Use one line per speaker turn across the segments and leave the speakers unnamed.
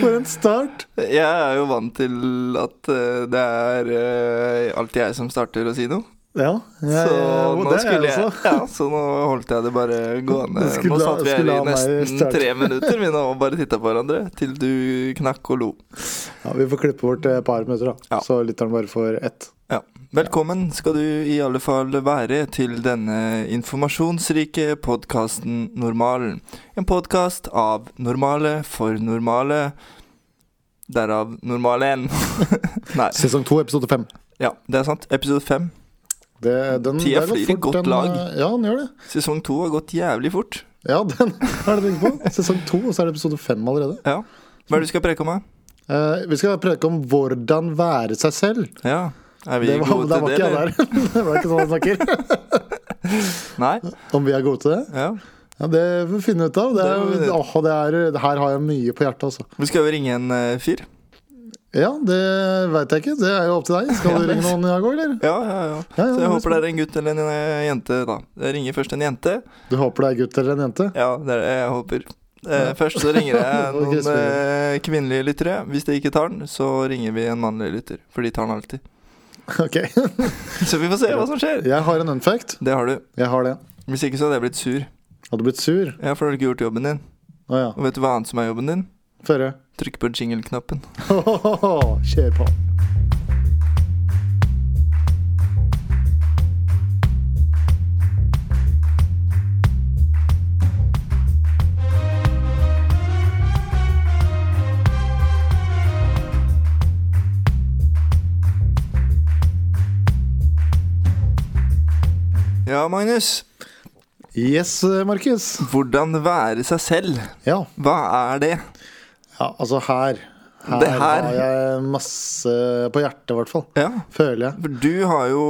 For en start.
Jeg er jo vant til at eh, det er eh, alltid jeg som starter å si noe.
Ja, jeg,
så
og
nå
det er
skulle
jeg
jeg
også.
Ja, så nå holdt jeg det bare gående.
Du skulle
nå
la-
satt vi her
skulle
i
la meg
nesten
starte.
tre minutter vi nå og bare titta på hverandre til du knakk og lo.
Ja, vi får klippe bort et par minutter, da.
Ja.
Så lytteren bare får ett.
Ja. Velkommen skal du i alle fall være til denne informasjonsrike podkasten Normalen. En podkast av normale for normale. Derav normalen. Nei.
Sesong to, episode fem.
Ja, det er sant. Episode fem.
Det, den,
Tida
der går
flyr i
fort,
godt
den,
lag.
eh, Ja, den gjør det.
Sesong to har gått jævlig fort.
Ja, den har du tenkt på. Sesong to, og så er det episode fem allerede.
Ja. Hva er det du skal preke om, da?
Eh, vi skal preke om hvordan være seg selv.
Ja. Er vi
Det var,
gode
der
til
var
det,
ikke jeg
eller?
der. det var ikke sånn jeg snakker.
Nei?
Om vi er gode til det?
Ja.
Ja, Det får vi finne ut av. Det
Det må vi
er,
finne
åh, det er, her har jeg mye på hjertet, altså.
Vi skal jo ringe en eh, fyr.
Ja, det veit jeg ikke. Det er jo opp til deg. Skal du ringe noen, Jago, eller?
Ja, ja, ja.
Ja, ja,
Så jeg
det er
håper det er en gutt eller en eh, jente, da. Jeg ringer først en jente.
Du håper det er gutt eller en jente?
Ja, det er det jeg håper. Eh, Først så ringer jeg
Ok,
noen
spennende.
eh, kvinnelige lyttere. Hvis de ikke tar den, så ringer vi en mannlig lytter. For de tar den alltid.
Ok.
Så vi får se hva som skjer.
Jeg har en unfact.
Det har du.
Jeg har det.
Hvis ikke så hadde jeg blitt sur.
Hadde du blitt sur?
Ja, for du har ikke gjort jobben din.
Å ja.
Og vet du hva annet som er jobben din?
Føre.
Trykke på jingle-knappen.
Kjør på.
Ja, Magnus.
Yes, Markus.
Hvordan være seg selv.
Ja.
Hva er det?
ja, altså her. Her,
Det her.
har jeg masse på hjertet, i hvert fall.
Ja.
Føler jeg.
For du har jo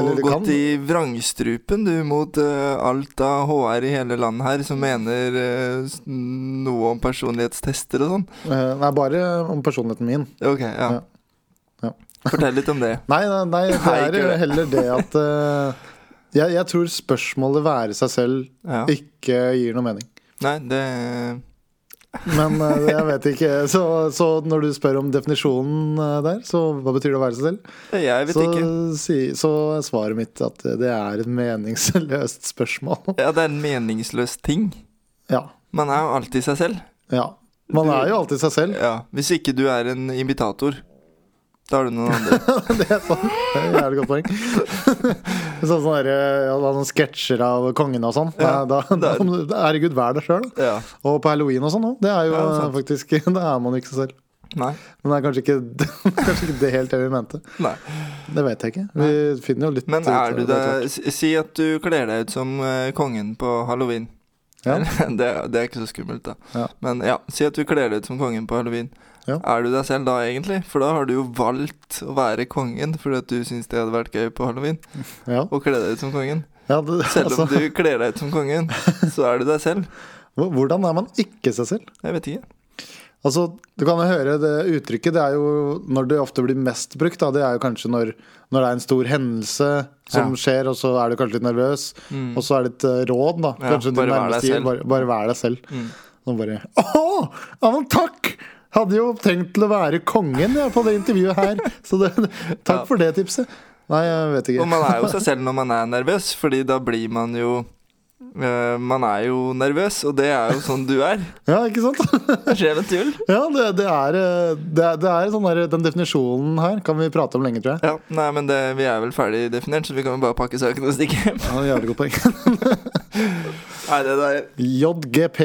Eller det
gått
kan-
i vrangstrupen, du, mot eh, alt av HR i hele landet her
Mm.
som mener eh, s- noe om personlighetstester og sånn.
Eh, Nei, bare om personligheten min.
Ok, ja.
Ja. Ja.
Fortell litt om det.
Nei, nei, nei
Nei, ikke
det er
det.
heller det at eh, jeg, jeg tror spørsmålet 'være seg selv'
Ja.
ikke gir noe mening.
Nei, det
Men eh, jeg vet ikke. Så, så når du spør om definisjonen eh, der, så hva betyr det å være seg selv?
Jeg vet
Så,
ikke.
si, så er svaret mitt at det er et meningsløst spørsmål.
Ja, det er en meningsløs ting.
Ja.
Man er jo alltid seg selv.
ja. Man
Du-
er jo alltid seg selv.
Ja. Hvis ikke du er en imitator, da er du noen andre.
Det er sant. Det er et jævlig godt poeng. Sånn sånn der, ja, da sånne sketsjer av kongen og sånn.
Ja,
da, da,
det er-
herregud, vær deg sjøl.
Ja.
Og på halloween og sånn òg. Det er jo
Ja, sant.
eh, faktisk Da er man jo ikke seg selv.
Nei.
Men det er kanskje ikke, kanskje ikke det helt det vi mente.
Nei.
Det vet jeg ikke. Vi finner jo litt
Men
ut
er
av
du
det
det?
etter hvert.
s- Si at du kler deg ut som eh, kongen på halloween.
Ja.
det, det er ikke så skummelt, da.
Ja.
Men ja, si at du kler deg ut som kongen på halloween.
Ja.
Er du deg selv da, egentlig? For da har du jo valgt å være kongen fordi at du syns det hadde vært gøy på halloween
Ja.
å kle deg ut som kongen.
Ja, det,
Selv om
altså,
du kler deg ut som kongen, så er du deg selv.
hvor- hvordan er man ikke seg selv?
Jeg vet ikke.
Altså, Du kan jo høre det uttrykket. Det er jo når det ofte blir mest brukt. Da, det er jo kanskje når, når det er en stor hendelse som
Ja. Mm.
skjer, og så er du kanskje litt nervøs. Og så er det et eh, råd, da.
Ja,
Kanskje
bare
din
vær deg
nærmeste gir
selv.
bare, bare vær deg selv.
Mm.
Og bare Å! Ja, men takk! Hadde jo tenkt til å være kongen jeg, på det intervjuet her. Så det, takk
Ja.
for det tipset. Nei, jeg vet ikke.
Og man er jo seg selv når man er nervøs, fordi da blir man jo eh, Man er jo nervøs, og det er jo sånn du er.
Ja, ikke sant?
Det skjer et tull.
Ja, det, det er, eh, det, er- det er sånn der, Den definisjonen her kan vi prate om lenge, tror jeg.
Ja, nei, men det, vi er vel ferdig definert, så vi kan jo bare pakke saken og stikke hjem.
Ja, jævlig godt poeng.
Nei, det der
JGP.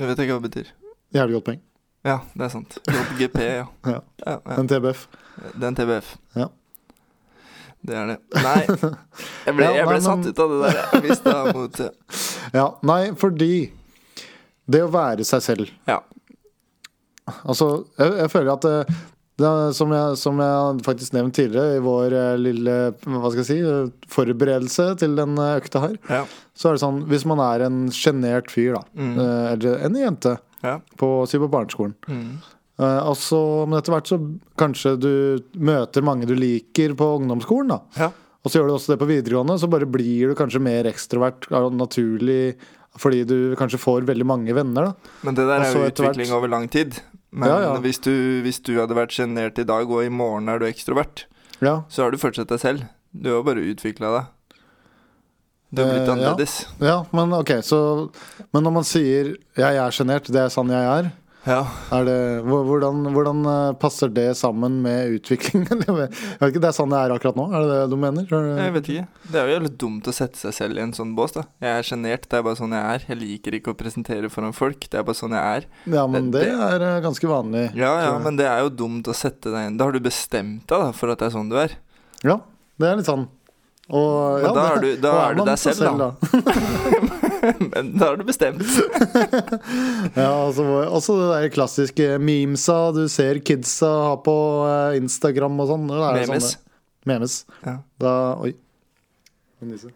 Jeg vet ikke hva det betyr.
Jævlig godt poeng.
Ja, det er sant. JGP, ja.
Ja.
ja, ja.
En TBF.
Det er en TBF.
Ja.
Det er det. Nei, jeg ble,
Ja,
jeg ble
nei,
satt
men-
ut av det der. Jeg mista motet.
Ja, nei, fordi det å være seg selv
Ja.
Altså, jeg, jeg føler at eh, det er, som, jeg, som jeg hadde faktisk nevnt tidligere i vår eh, lille hva skal jeg si, eh, forberedelse til denne økta her,
Ja.
så er det sånn hvis man er en sjenert fyr, da,
Mm.
eh, eller en jente,
ja.
på, si på barneskolen
Mm.
Eh, altså, men etter hvert så kanskje du møter mange du liker på ungdomsskolen. da
ja.
Og så gjør du også det på videregående, så bare blir du kanskje mer ekstrovert av naturlig Fordi du kanskje får veldig mange venner, da.
Men det der
Og
er
så
jo
etter hvert-
utvikling over lang tid. Men
Ja, ja.
Hvis, du, hvis du hadde vært sjenert i dag, og i morgen er du ekstrovert,
Ja.
så har du fortsatt deg selv. Du har bare utvikla deg. Du har
Eh,
blitt
ja.
annerledes.
ja, men ok, så Men når man sier 'jeg er sjenert', det er sånn jeg er,
Ja.
er det, hvor- hvordan, hvordan eh, passer det sammen med utviklingen? Jeg vet ikke, det er sånn jeg er akkurat nå? Er det det du mener?
Jeg vet ikke. Det er jo litt dumt å sette seg selv i en sånn bås, da. Jeg er sjenert, det er bare sånn jeg er. Jeg liker ikke å presentere foran folk, det er bare sånn jeg er.
Ja, men det
det-
er eh, ganske vanlig.
Ja ja,
tror jeg.
men det er jo dumt å sette deg inn Da har du bestemt deg da, for at det er sånn du er.
Ja, det er litt sånn. Og,
Men
ja,
da er
det-
du- da
og
er du
man
deg
seg
selv, da. Men da har du bestemt.
Ja, altså, også det der klassiske memesa du ser kidsa ha på eh, Instagram og sånn. Da er det sånn
Memes.
det- Memes.
Ja.
Da Oi. Må nyse.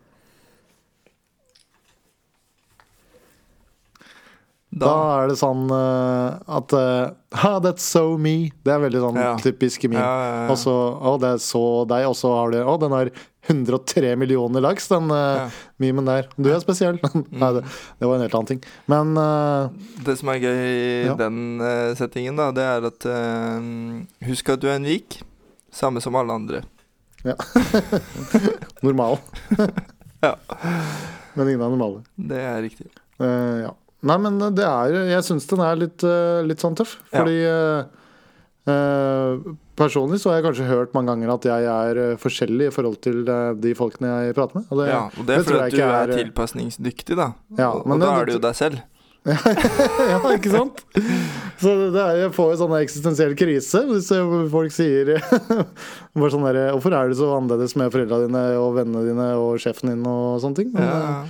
Da
Da
er det sånn eh, at eh, Ha, that's so me. Det er veldig sånn
Ja.
typisk meme.
Ja, ja, ja.
Og så Å, det er så deg. Og så har du Å, den har 103 millioner likes, den eh,
Ja. Mm.
memen der. Du er spesiell. Nei, det, det var en helt annen ting. Men eh,
Det som er gøy i
Ja.
den eh, settingen, da, det er at eh, Husk at du er en vik. Samme som alle andre.
normal.
Ja.
Men ingen er normale.
Det er riktig.
Eh, ja. Nei, men det er Jeg syns den er litt, eh, litt sånn tøff.
Ja.
Fordi eh, eh, Personlig så har jeg kanskje hørt mange ganger at jeg er eh, forskjellig i forhold til eh, de folkene jeg prater med. Og det,
Ja, og det er
det tror jeg
fordi at du
ikke
er
er-
tilpasningsdyktig, da.
Ja,
og
men
og da
det-
er du jo deg selv.
ja, ikke sant? Så det er, jeg får jo sånn eksistensiell krise hvis eh, folk sier bare sånn der, Hvorfor er du så annerledes med foreldra dine og vennene dine og sjefen din og sånne ting? Men,
Ja.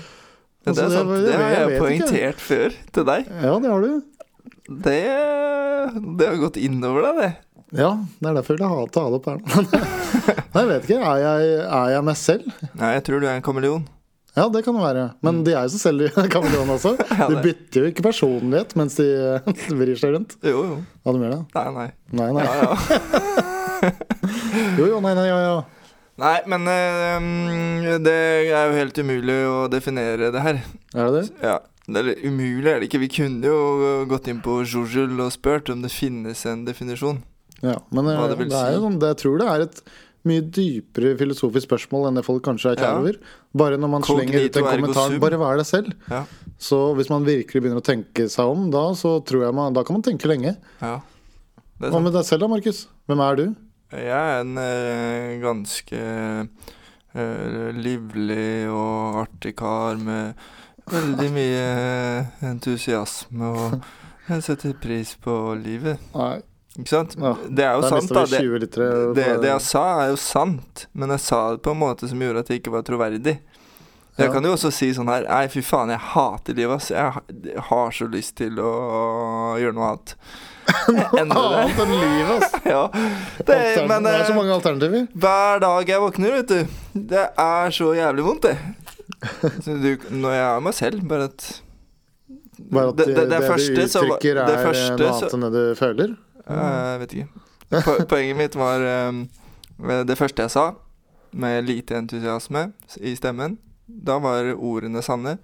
Ja,
Altså,
det er
det-
sant.
jeg-
Det har
jeg
jeg
vet ikke.
poengtert før til deg.
eh, ja, det har du.
Det, det har gått innover deg, det.
Ja, det er derfor jeg vil ha ta det opp her nå. Nei, jeg vet ikke. Er jeg, er jeg meg selv?
Nei, jeg tror du er en kameleon.
Ja, det kan det være. Men de er jo så selv i kameleon også.
Ja,
De
det-
bytter jo ikke personlighet mens de vrir seg rundt.
Jo, jo.
Ja, de gjør det?
Nei, nei.
Nei, nei.
Ja, ja.
Jo, jo, nei, nei, ja, ja.
nei men eh, mm, det er jo helt umulig å definere det her.
Er det det?
Ja, det er litt umulig er det ikke. Vi kunne jo gått inn på Jojul og spurt om det finnes en definisjon.
Ja, men eh,
Hva
det,
det vil
er jo
si.
sånn, det, jeg tror det er et mye dypere filosofisk spørsmål enn det folk kanskje er klar
Ja.
over. Bare når man
Cognito
slenger ut en
ergo
kommentar
sum.
Bare vær deg selv.
Ja.
Så hvis man virkelig begynner å tenke seg om da, så tror jeg man Da kan man tenke lenge.
Ja. Det er
Hva
sant.
med deg selv da, Markus? Hvem er du?
Jeg er en eh, ganske eh, livlig og artig kar med veldig mye eh, entusiasme og jeg setter pris på livet.
Nei,
Ikke sant?
Ja,
Det er jo
der
sant,
mista
da.
vi 20
Det,
liter.
det, det jeg sa, er jo sant, men jeg sa det på en måte som gjorde at det ikke var troverdig. Jeg
Ja.
kan jo også si sånn her Nei, fy faen, jeg hater livet, ass. Jeg ha- jeg har så lyst til å gjøre noe annet. Endre det.
Annet enn livet, ass!
Ja. Det,
Alternativer.
men
det er så
eh,
mange alternativer.
hver dag jeg våkner, vet du. Det er så jævlig vondt, det. Så du, når jeg er meg selv, bare at
Bare at det, det,
første
du
så var-
uttrykker,
det
er eh,
første
noe
så-
annet enn det du føler.
Eh, Jeg vet ikke. Po poenget mitt var eh, det første jeg sa, med lite entusiasme s- i stemmen. Da var ordene sanne.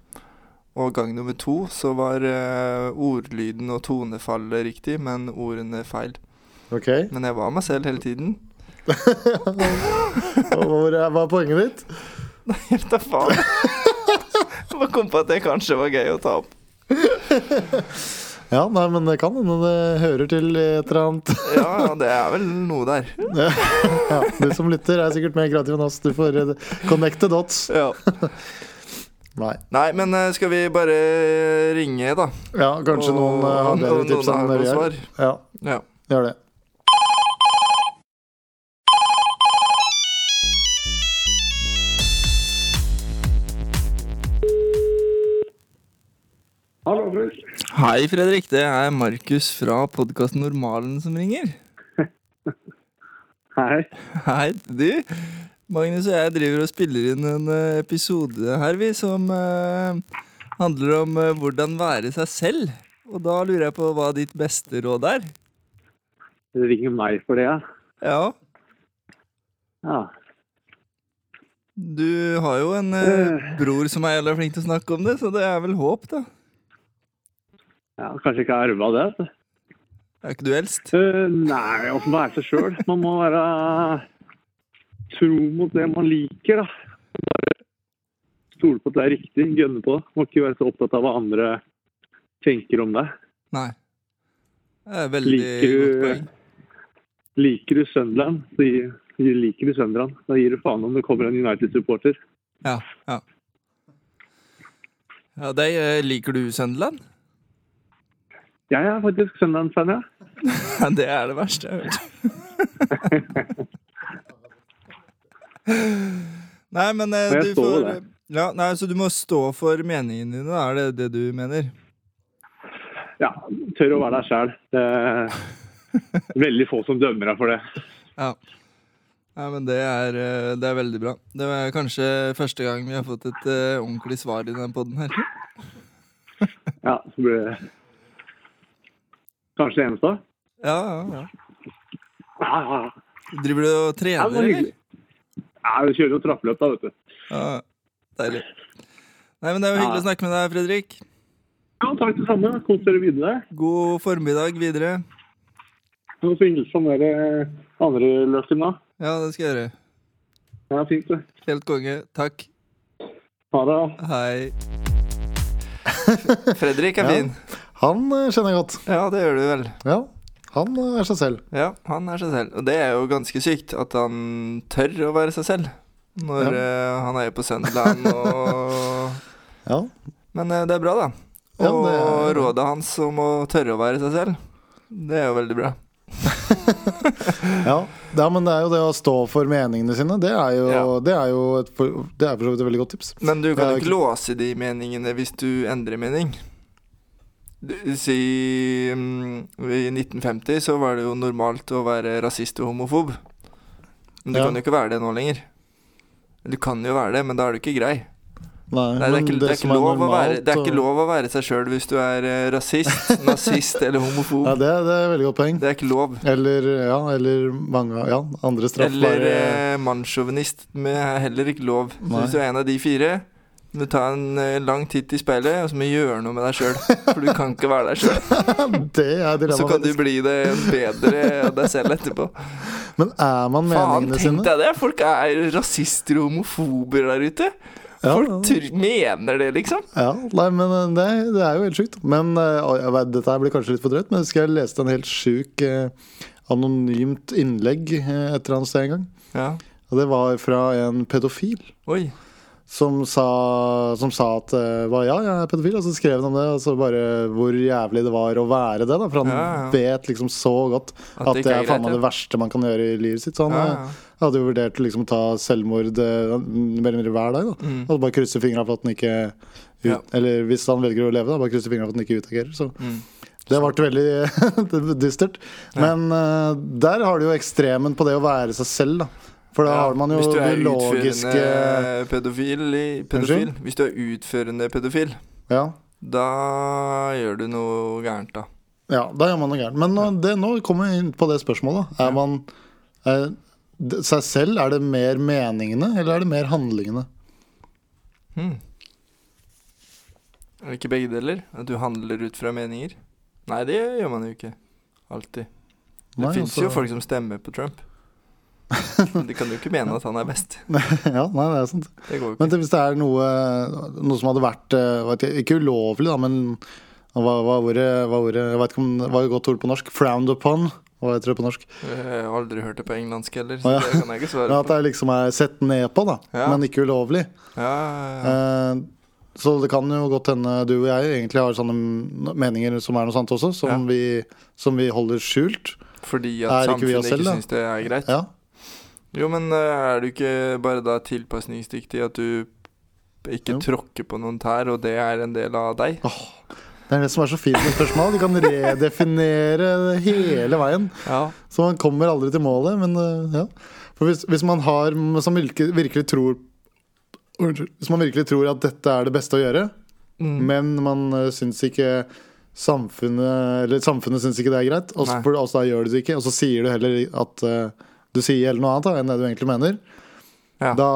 Og gang nummer to så var eh, ordlyden og tonefallet riktig, men ordene feil.
Ok?
Men jeg var meg selv hele tiden.
Og hvor er, hva er poenget ditt?
Helt da faen. Jeg bare kom på at det kanskje var gøy å ta opp.
Ja, nei, men det kan hende det hører til et eller annet
Ja, ja, det er vel noe der.
Ja. ja, du som lytter er sikkert mer kreativ enn oss. Du får eh, connect the dots.
Ja.
Nei.
Nei, men eh, skal vi bare ringe, da?
Ja, kanskje noen eh, har
Og-
bedre
og
tips
noen
enn
har
det vi har.
noe svar.
Ja,
Ja.
gjør det.
Hallo, Bruce.
Hei, Fredrik. Det er Markus fra podkasten Normalen som ringer.
Hei.
Hei, du. Magnus og jeg driver og spiller inn en eh, episode her, vi, som eh, handler om eh, hvordan være seg selv. Og da lurer jeg på hva ditt beste råd er.
Du ringer meg for det, ja?
Ja.
ja.
Du har jo en
Øh.
eh, bror som er jævla flink til å snakke om det, så det er vel håp, da.
Ja, kanskje ikke jeg arva det. vet du.
Er ikke du eldst?
Eh, nei, å være seg sjøl. Man må være tro mot det man liker. da. Bare stole på at det er riktig, gønne på det. Må ikke være så opptatt av hva andre tenker om deg.
Nei. Mm, Det er veldig
Liker
godt
du,
poeng.
liker du Sunderland, så gir, liker du Sunderland. Da gir du faen om det kommer en United-supporter.
Ja, ja. ja deg, eh, liker du Sunderland?
Jeg er faktisk Sunderland-fan, ja.
Ja, det er det verste jeg har hørt. Nei, men eh,
Men
du
jeg står
får
der.
ja, nei, Så du må stå for meningene dine, da, er det det du mener?
ja. Tør å være deg sjæl. Det er veldig få som dømmer deg for det.
Ja. Nei, men det er, eh, det er veldig bra. Det er kanskje første gang vi har fått et eh, ordentlig svar i den poden her.
Ja, så blir det kanskje det eneste.
Ja, ja, ja.
Ja, ja, ja.
Driver du og
Ja,
trener,
det var
eller?
hyggelig. Ja, vi kjører jo trappeløp, da, vet du.
Ja, deilig. Nei, men Det er jo hyggelig å
Ja.
snakke med deg, Fredrik.
Ja, takk det samme. Kos dere videre.
God formiddag videre.
Nå får hilse om dere andre løsning, da.
Ja, det skal jeg gjøre.
Ja, fint, det.
Helt konge. Takk.
Ha det.
Hei. Fredrik er
Ja.
fin.
Han eh, kjenner jeg godt.
Ja, det gjør du vel.
Ja, han eh, er seg selv.
Ja, han er seg selv. Og det er jo ganske sykt at han tør å være seg selv når
Ja.
eh, han er på Sunderland og
Ja,
Men eh, det er bra, da. Og
Ja, det er-
rådet hans om å tørre å være seg selv, det er jo veldig bra.
ja. ja men det er jo det å stå for meningene sine. Det er jo,
Ja.
det er jo et, for- det er for så vidt et veldig godt tips.
Men du kan
Ja,
jo ikke låse de meningene hvis du endrer mening. Du- Si mm, I 1950 så var det jo normalt å være rasist og homofob. Men du
Ja.
kan jo ikke være det nå lenger. Du kan jo være det, men da er du ikke grei.
Nei,
Nei, det, er
men
ikke, det, er
som
ikke lov å være,
normalt
det er
og-
ikke lov å være seg sjøl hvis du er eh, rasist, nazist eller homofob.
Ja, det, det er et veldig godt poeng.
Det er ikke lov.
Eller, ja, eller mange ja, andre straffbare
Eller eh, mannssjåvinist men er heller ikke lov. Så
Nei.
hvis du er en av de fire, må du ta en eh, lang titt i speilet og så må du gjøre noe med deg sjøl. For du kan ikke være deg sjøl.
Det er
Så
dilemmaet.
kan du bli det en bedre deg selv etterpå.
Men er man
Faen,
meningene
tenk
sine?
deg det! Folk er rasister og homofober der ute.
Ja,
Folk tr- mener det, liksom.
ja, nei, men eh, det, det er jo helt sjukt. Men eh, og jeg vet, Dette her blir kanskje litt for drøyt, men jeg husker jeg leste en helt sjuk eh, anonymt innlegg eh, et eller annet sted en gang.
Ja.
Og det var fra en pedofil.
Oi.
Som sa, som sa at eh, var, ja, jeg er pedofil, og så skrev han om det. Og så bare hvor jævlig det var å være det, da. For han
Ja, ja.
vet liksom så godt at,
det
det,
ikke er
er faen
greit,
meg
ja.
det verste man kan gjøre i livet sitt. Så han
Ja,
eh, hadde jo vurdert å liksom ta selvmord eh, mer eller mindre hver dag. da
Mm.
Og bare krysse fingra for at den ikke ut,
Ja.
Eller hvis han velger å leve, da, bare krysse fingra for at den ikke utagerer. Så
Mm.
det ble veldig dystert. Men eh, der har du jo ekstremen på det å være seg selv, da. For da
Ja,
har man jo
hvis du
det
er
logiske
utførende pedofil, i- pedofil
Unnskyld?
Hvis du er utførende pedofil,
Ja
da gjør du noe gærent, da.
Ja, da gjør man noe gærent. Men nå, det, nå kommer vi inn på det spørsmålet. Er man eh, d- seg selv? Er det mer meningene, eller er det mer handlingene?
Hmm. Er det ikke begge deler? At du handler ut fra meninger? Nei, det gjør man jo ikke. Alltid. Det
Nei,
fins
altså-
jo folk som stemmer på Trump. Men De kan jo ikke mene at han er best.
ja, nei, det er sant.
Det går jo ikke.
Men hvis det er noe, noe som hadde vært eh, vet jeg, Ikke ulovlig, da, men hva hva er ordet, hva er ordet Jeg vet ikke om det var et godt ord på norsk. Frowned upon. Hva heter det på norsk?
Jeg har aldri hørt det på engelsk heller,
Å,
så
ja.
det kan jeg ikke
Men
svare
at
på.
det er liksom er sett ned på, da.
Ja.
Men ikke ulovlig.
Ja, ja, ja.
Eh, så det kan jo godt hende du og jeg egentlig har sånne meninger som er noe sant også, som,
Ja.
vi, som vi holder skjult.
Fordi
er
at
ikke vi oss
samfunnet
selv, da?
ikke syns det er greit.
Ja,
Jo, men eh, er du ikke bare da tilpasningsdyktig at du ikke
Jo.
tråkker på noen tær, og det er en del av deg?
Det er det som er så fint med spørsmål. Du kan redefinere hele veien.
Ja.
Så man kommer aldri til målet. Men øh, ja. For hvis, hvis man har som virkelig, virkelig tror Unnskyld. Hvis man virkelig tror at dette er det beste å gjøre,
Mm.
men man øh, syns ikke samfunnet Eller samfunnet syns ikke det er greit, og så,
Nei.
for, og så da gjør du eh, det ikke, og så sier du heller at øh, du sier heller noe annet da, enn det du egentlig mener,
Ja.
da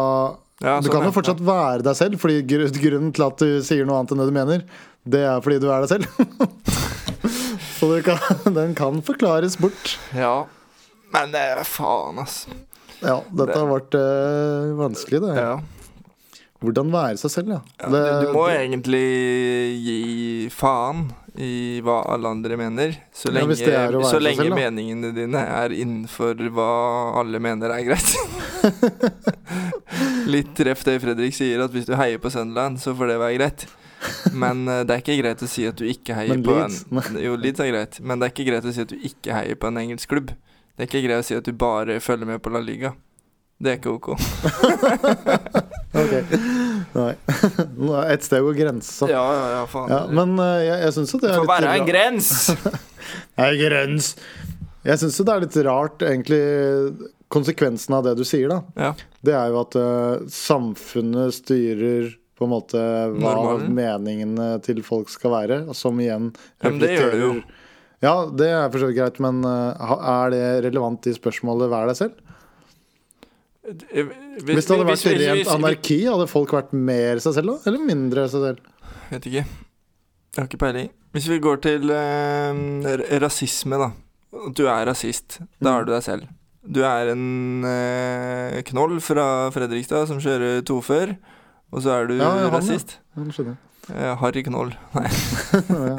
Ja,
Du
sånn,
kan
ja.
jo fortsatt være deg selv, Fordi gru- grunnen til at du sier noe annet enn det du mener, det er fordi du er deg selv. Så du kan, den kan forklares bort.
Ja. Men det er faen, altså. ass.
Ja, dette har vært eh, vanskelig, det.
Ja.
Hvordan være seg selv, ja.
Ja,
Det,
du, du må egentlig gi faen i hva alle andre mener, så
Ja,
lenge,
hvis det er å være
så
seg
lenge
selv, da.
meningene dine er innenfor hva alle mener er greit. Litt treff det Fredrik sier, at hvis du heier på Sunderland, så får det være greit. Men eh, det er ikke greit å si at du ikke heier
Men
på
Leeds?
en Jo, Leeds er greit, men det er ikke greit å si at du ikke heier på en engelsk klubb. Det er ikke greit å si at du bare følger med på La Liga. Det er ikke ok.
ok. Nei. Nå er Et sted går grensa. Ja.
Ja, ja, ja, faen.
men eh, jeg, jeg syns jo det
det
er
får
litt
være en
ra-
grens!
Det er grens. Jeg syns jo det er litt rart, egentlig, konsekvensen av det du sier, da.
Ja.
Det er jo at eh, samfunnet styrer på en måte hva
Normalen.
meningene til folk skal være, og som igjen
Ja, men det gjør det jo.
reflekterer- Ja, det er for så vidt greit, men eh, ha- er det relevant i spørsmålet 'vær deg selv'? Hvis
Hvis,
det hadde vært
hvis- hvis-
rent anarki, hadde folk vært mer seg selv da? Eller mindre seg selv?
Vet ikke. Jeg har ikke peiling. Hvis vi går til eh, r- rasisme, da. At Du er rasist. Da er du deg selv. Du er en eh, knoll fra Fredrikstad som kjører tofer, og så er du
Ja, ja, han, ja.
rasist.
Ja, nå skjønner jeg.
Eh, Harry Knoll. Nei,
Ja,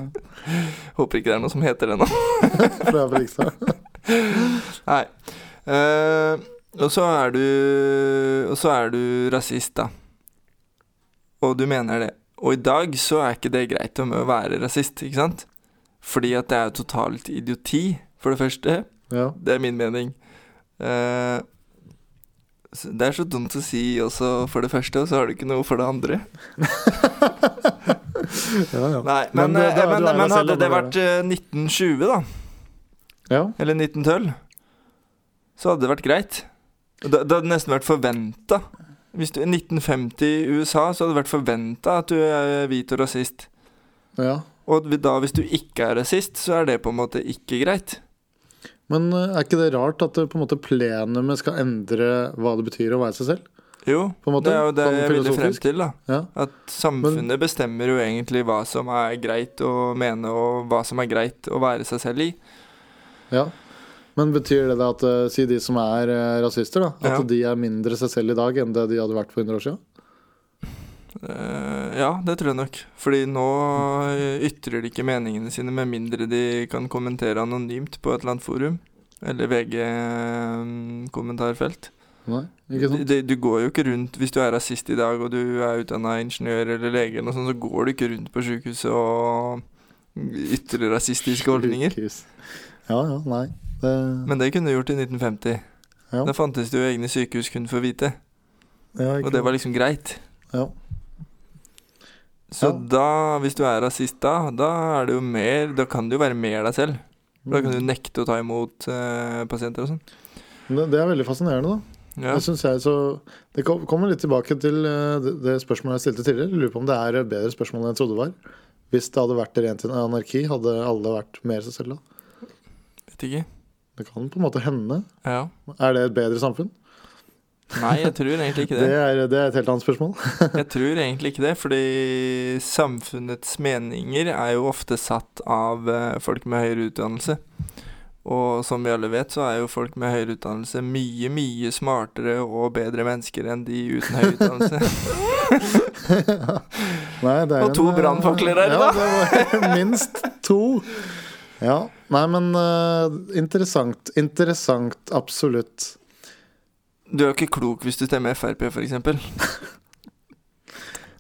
håper ikke det er noe som heter det nå.
Fra Fredrikstad.
Nei. Eh, og så er du Og så er du rasist, da. Og du mener det. Og i dag så er ikke det greit om å være rasist, ikke sant? Fordi at det er jo totalt idioti, for det første.
Ja.
Det er min mening. Eh, så det er så dumt å si også for det første, og så har du ikke noe for det andre.
Ja, ja.
Nei, men,
Men, eh,
eh,
da- du er
men,
deg
men
selv,
hadde
da,
det
da.
vært eh, 1920, da,
ja.
eller 1912, så hadde det vært greit. Og Det, det hadde nesten vært forventa. Hvis du, 1950 i USA, så hadde det vært forventa at du er hvit og rasist.
ja.
Og da, hvis du ikke er rasist, så er det på en måte ikke greit.
Men eh, er ikke det rart at det, på en måte plenumet skal endre hva det betyr å være seg selv?
Jo,
På en måte,
det er jo det
sånn
jeg ville frem
filosofisk.
til, da.
Ja.
At samfunnet bestemmer jo egentlig hva som er greit å mene, og hva som er greit å være seg selv i.
ja. Men betyr det da at eh, si de som er eh, rasister, da, at
Ja.
de er mindre seg selv i dag enn det de hadde vært for 100 år siden?
Eh, ja, det tror jeg nok. Fordi nå eh, ytrer de ikke meningene sine med mindre de kan kommentere anonymt på et eller annet forum. Eller VG-kommentarfelt.
Nei, ikke sant?
Du går jo ikke rundt Hvis du er rasist i dag og du er utdanna ingeniør eller lege, eller noe sånt, så går du ikke rundt på sjukehuset og ytrer rasistiske holdninger.
Sykehus. Ja, ja, nei. Det,
Men det kunne du gjort i 1950.
Ja.
Da fantes det jo egne sykehus kun for hvite,
ja,
og
ikke
det var
sant.
liksom greit.
Ja.
Så
Ja.
da, hvis du er rasist da, da er det jo mer Da kan du jo være mer deg selv. For Da
Mm.
kan du nekte å ta imot eh, pasienter og sånn.
det, det er veldig fascinerende, da.
Ja.
Det synes jeg så Det kom- kommer litt tilbake til eh, det det spørsmålet jeg stilte tidligere. Jeg Lurer på om det er et bedre spørsmål enn jeg trodde det var. Hvis det hadde vært rent anarki, hadde alle vært mer seg selv da?
Vet ikke.
Det kan på en måte hende.
Ja.
Er det et bedre samfunn?
Nei, jeg tror egentlig ikke
Det
det.
er, det er et helt annet spørsmål.
Jeg tror egentlig ikke det, fordi samfunnets meninger er jo ofte satt av eh, folk med høyere utdannelse. Og som vi alle vet, så er jo folk med høyere utdannelse mye, mye smartere og bedre mennesker enn de uten høy utdannelse.
Nei, det er
Og to
en, eh,
brannfakler her,
ja, det var minst to. Ja. Nei, men eh, interessant. Interessant, absolutt.
Du er jo ikke klok hvis du stemmer Frp, for eksempel.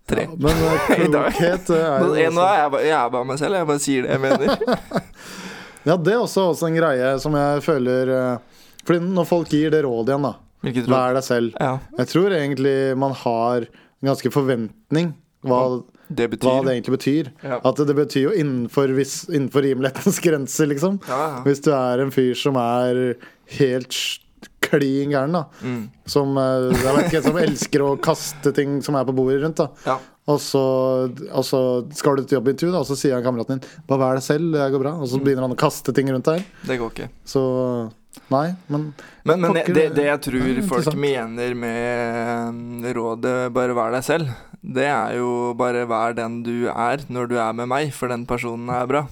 Tre.
Ja, men eh,
I dag.
klokhet eh, er
Men
jo
jeg, nå
også-
er jeg, bare, jeg er bare meg selv, jeg bare sier det jeg mener.
Ja, det er også, også en greie som jeg føler eh, Fordi når folk gir det rådet igjen, da
Hvilket råd?
Vær deg selv.
Ja,
Jeg tror egentlig man har en ganske forventning hva,
det
hva
betyr
det egentlig betyr.
Ja.
At det betyr jo innenfor, viss, innenfor rimelighetens grenser, liksom.
Ja, ja.
Hvis du er en fyr som er helt sj- klin gæren, da.
Mm.
Som, eh, jeg vet ikke, som elsker å kaste ting som er på bordet rundt, da.
ja.
Og så, og så skal du til jobbintervju, da, og så
Mm.
sier han kameraten din 'Bare vær deg selv, det går bra'. Og så begynner han å kaste ting rundt deg.
Det går ikke.
Så Nei, men
Men, men
Pokker,
det, det jeg
det
tror
er
folk
interessant.
mener med eh, rådet 'bare vær deg selv', det er jo bare vær den du er når du er med meg, for den personen er bra.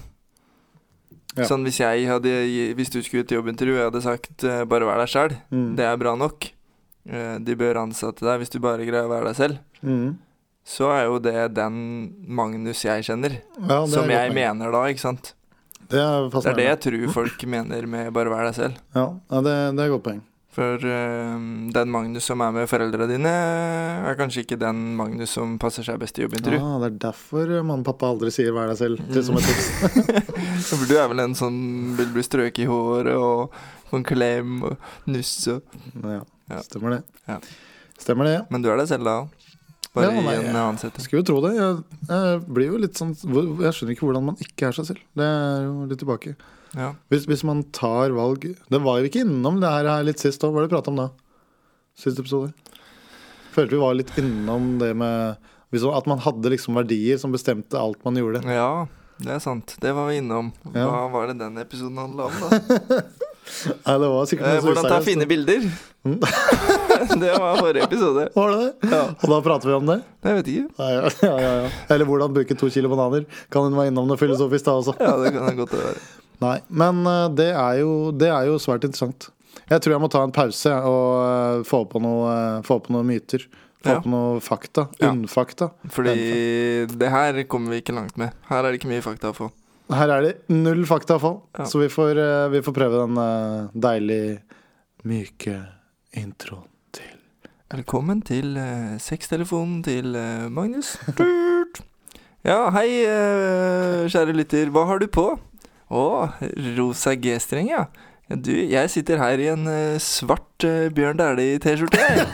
Ja.
Sånn hvis jeg hadde Hvis du skulle til jobbintervju, og jeg hadde sagt eh, 'bare vær deg selv',
mm,
det er bra nok. Eh, De bør ansette deg hvis du bare greier å være deg selv.
mm.
Så er jo det den Magnus jeg kjenner,
Ja, det er
som
godt
jeg
poeng.
mener da, ikke sant.
Det er
Det er det
fascinerende.
jeg tror folk mener med 'bare vær deg selv'.
Ja, ja, det, det er godt poeng.
For eh, den Magnus som er med foreldra dine, er kanskje ikke den Magnus som passer seg best i jobbintervju.
Ah, det er derfor mamma og pappa aldri sier 'vær deg selv'. Det er som
Mm.
et tips.
For du er vel en som vil bli strøket i håret og få en klem og nusse.
Ja,
Ja.
stemmer det.
Ja.
Stemmer det.
Men du er deg selv da òg. Bare
Ja, nei,
i en annen setting.
Skulle jo tro det. Jeg, jeg blir jo litt sånn hvor- Jeg skjønner ikke hvordan man ikke er seg selv. Det er jo litt tilbake.
Ja.
Hvis, hvis man tar valg Det var jo ikke innom det her her litt sist òg. Hva var det du prata om da? Siste episode. Følte vi var litt innom det med hvis- At man hadde liksom verdier som bestemte alt man gjorde.
ja, det er sant. Det var vi innom.
Ja.
Hva var det den episoden handla om, da?
Nei, det var sikkert
Eh,
noe så
hvordan ta
useriøst.
fine bilder.
Mm.
det var forrige episode.
Var det det?
Ja,
Og da prater vi om det?
jeg vet ikke.
Nei, ja, ja, ja, ja. Eller hvordan bruke to kilo bananer. Kan hun være innom noe filosofisk da også?
Ja, det kan det godt være.
Nei, men eh, det er, jo, det er jo svært interessant. Jeg tror jeg må ta en pause jeg, og eh, få på, noe, eh, få på noen myter. Få
Ja.
på noe fakta.
Ja.
Unnfakta.
Fordi det her kommer vi ikke langt med. Her er det ikke mye fakta å få.
Her er det null fakta å få,
Ja.
så vi får, eh, vi får prøve den eh, deilig myke introen.
Velkommen til eh, sextelefonen til eh, Magnus. Tut. Ja, hei, eh, kjære lytter. Hva har du på? Å, rosa G-streng, ja. Ja, Du, jeg sitter her i en eh, svart eh, Bjørn Dæhlie-T-skjorte, jeg.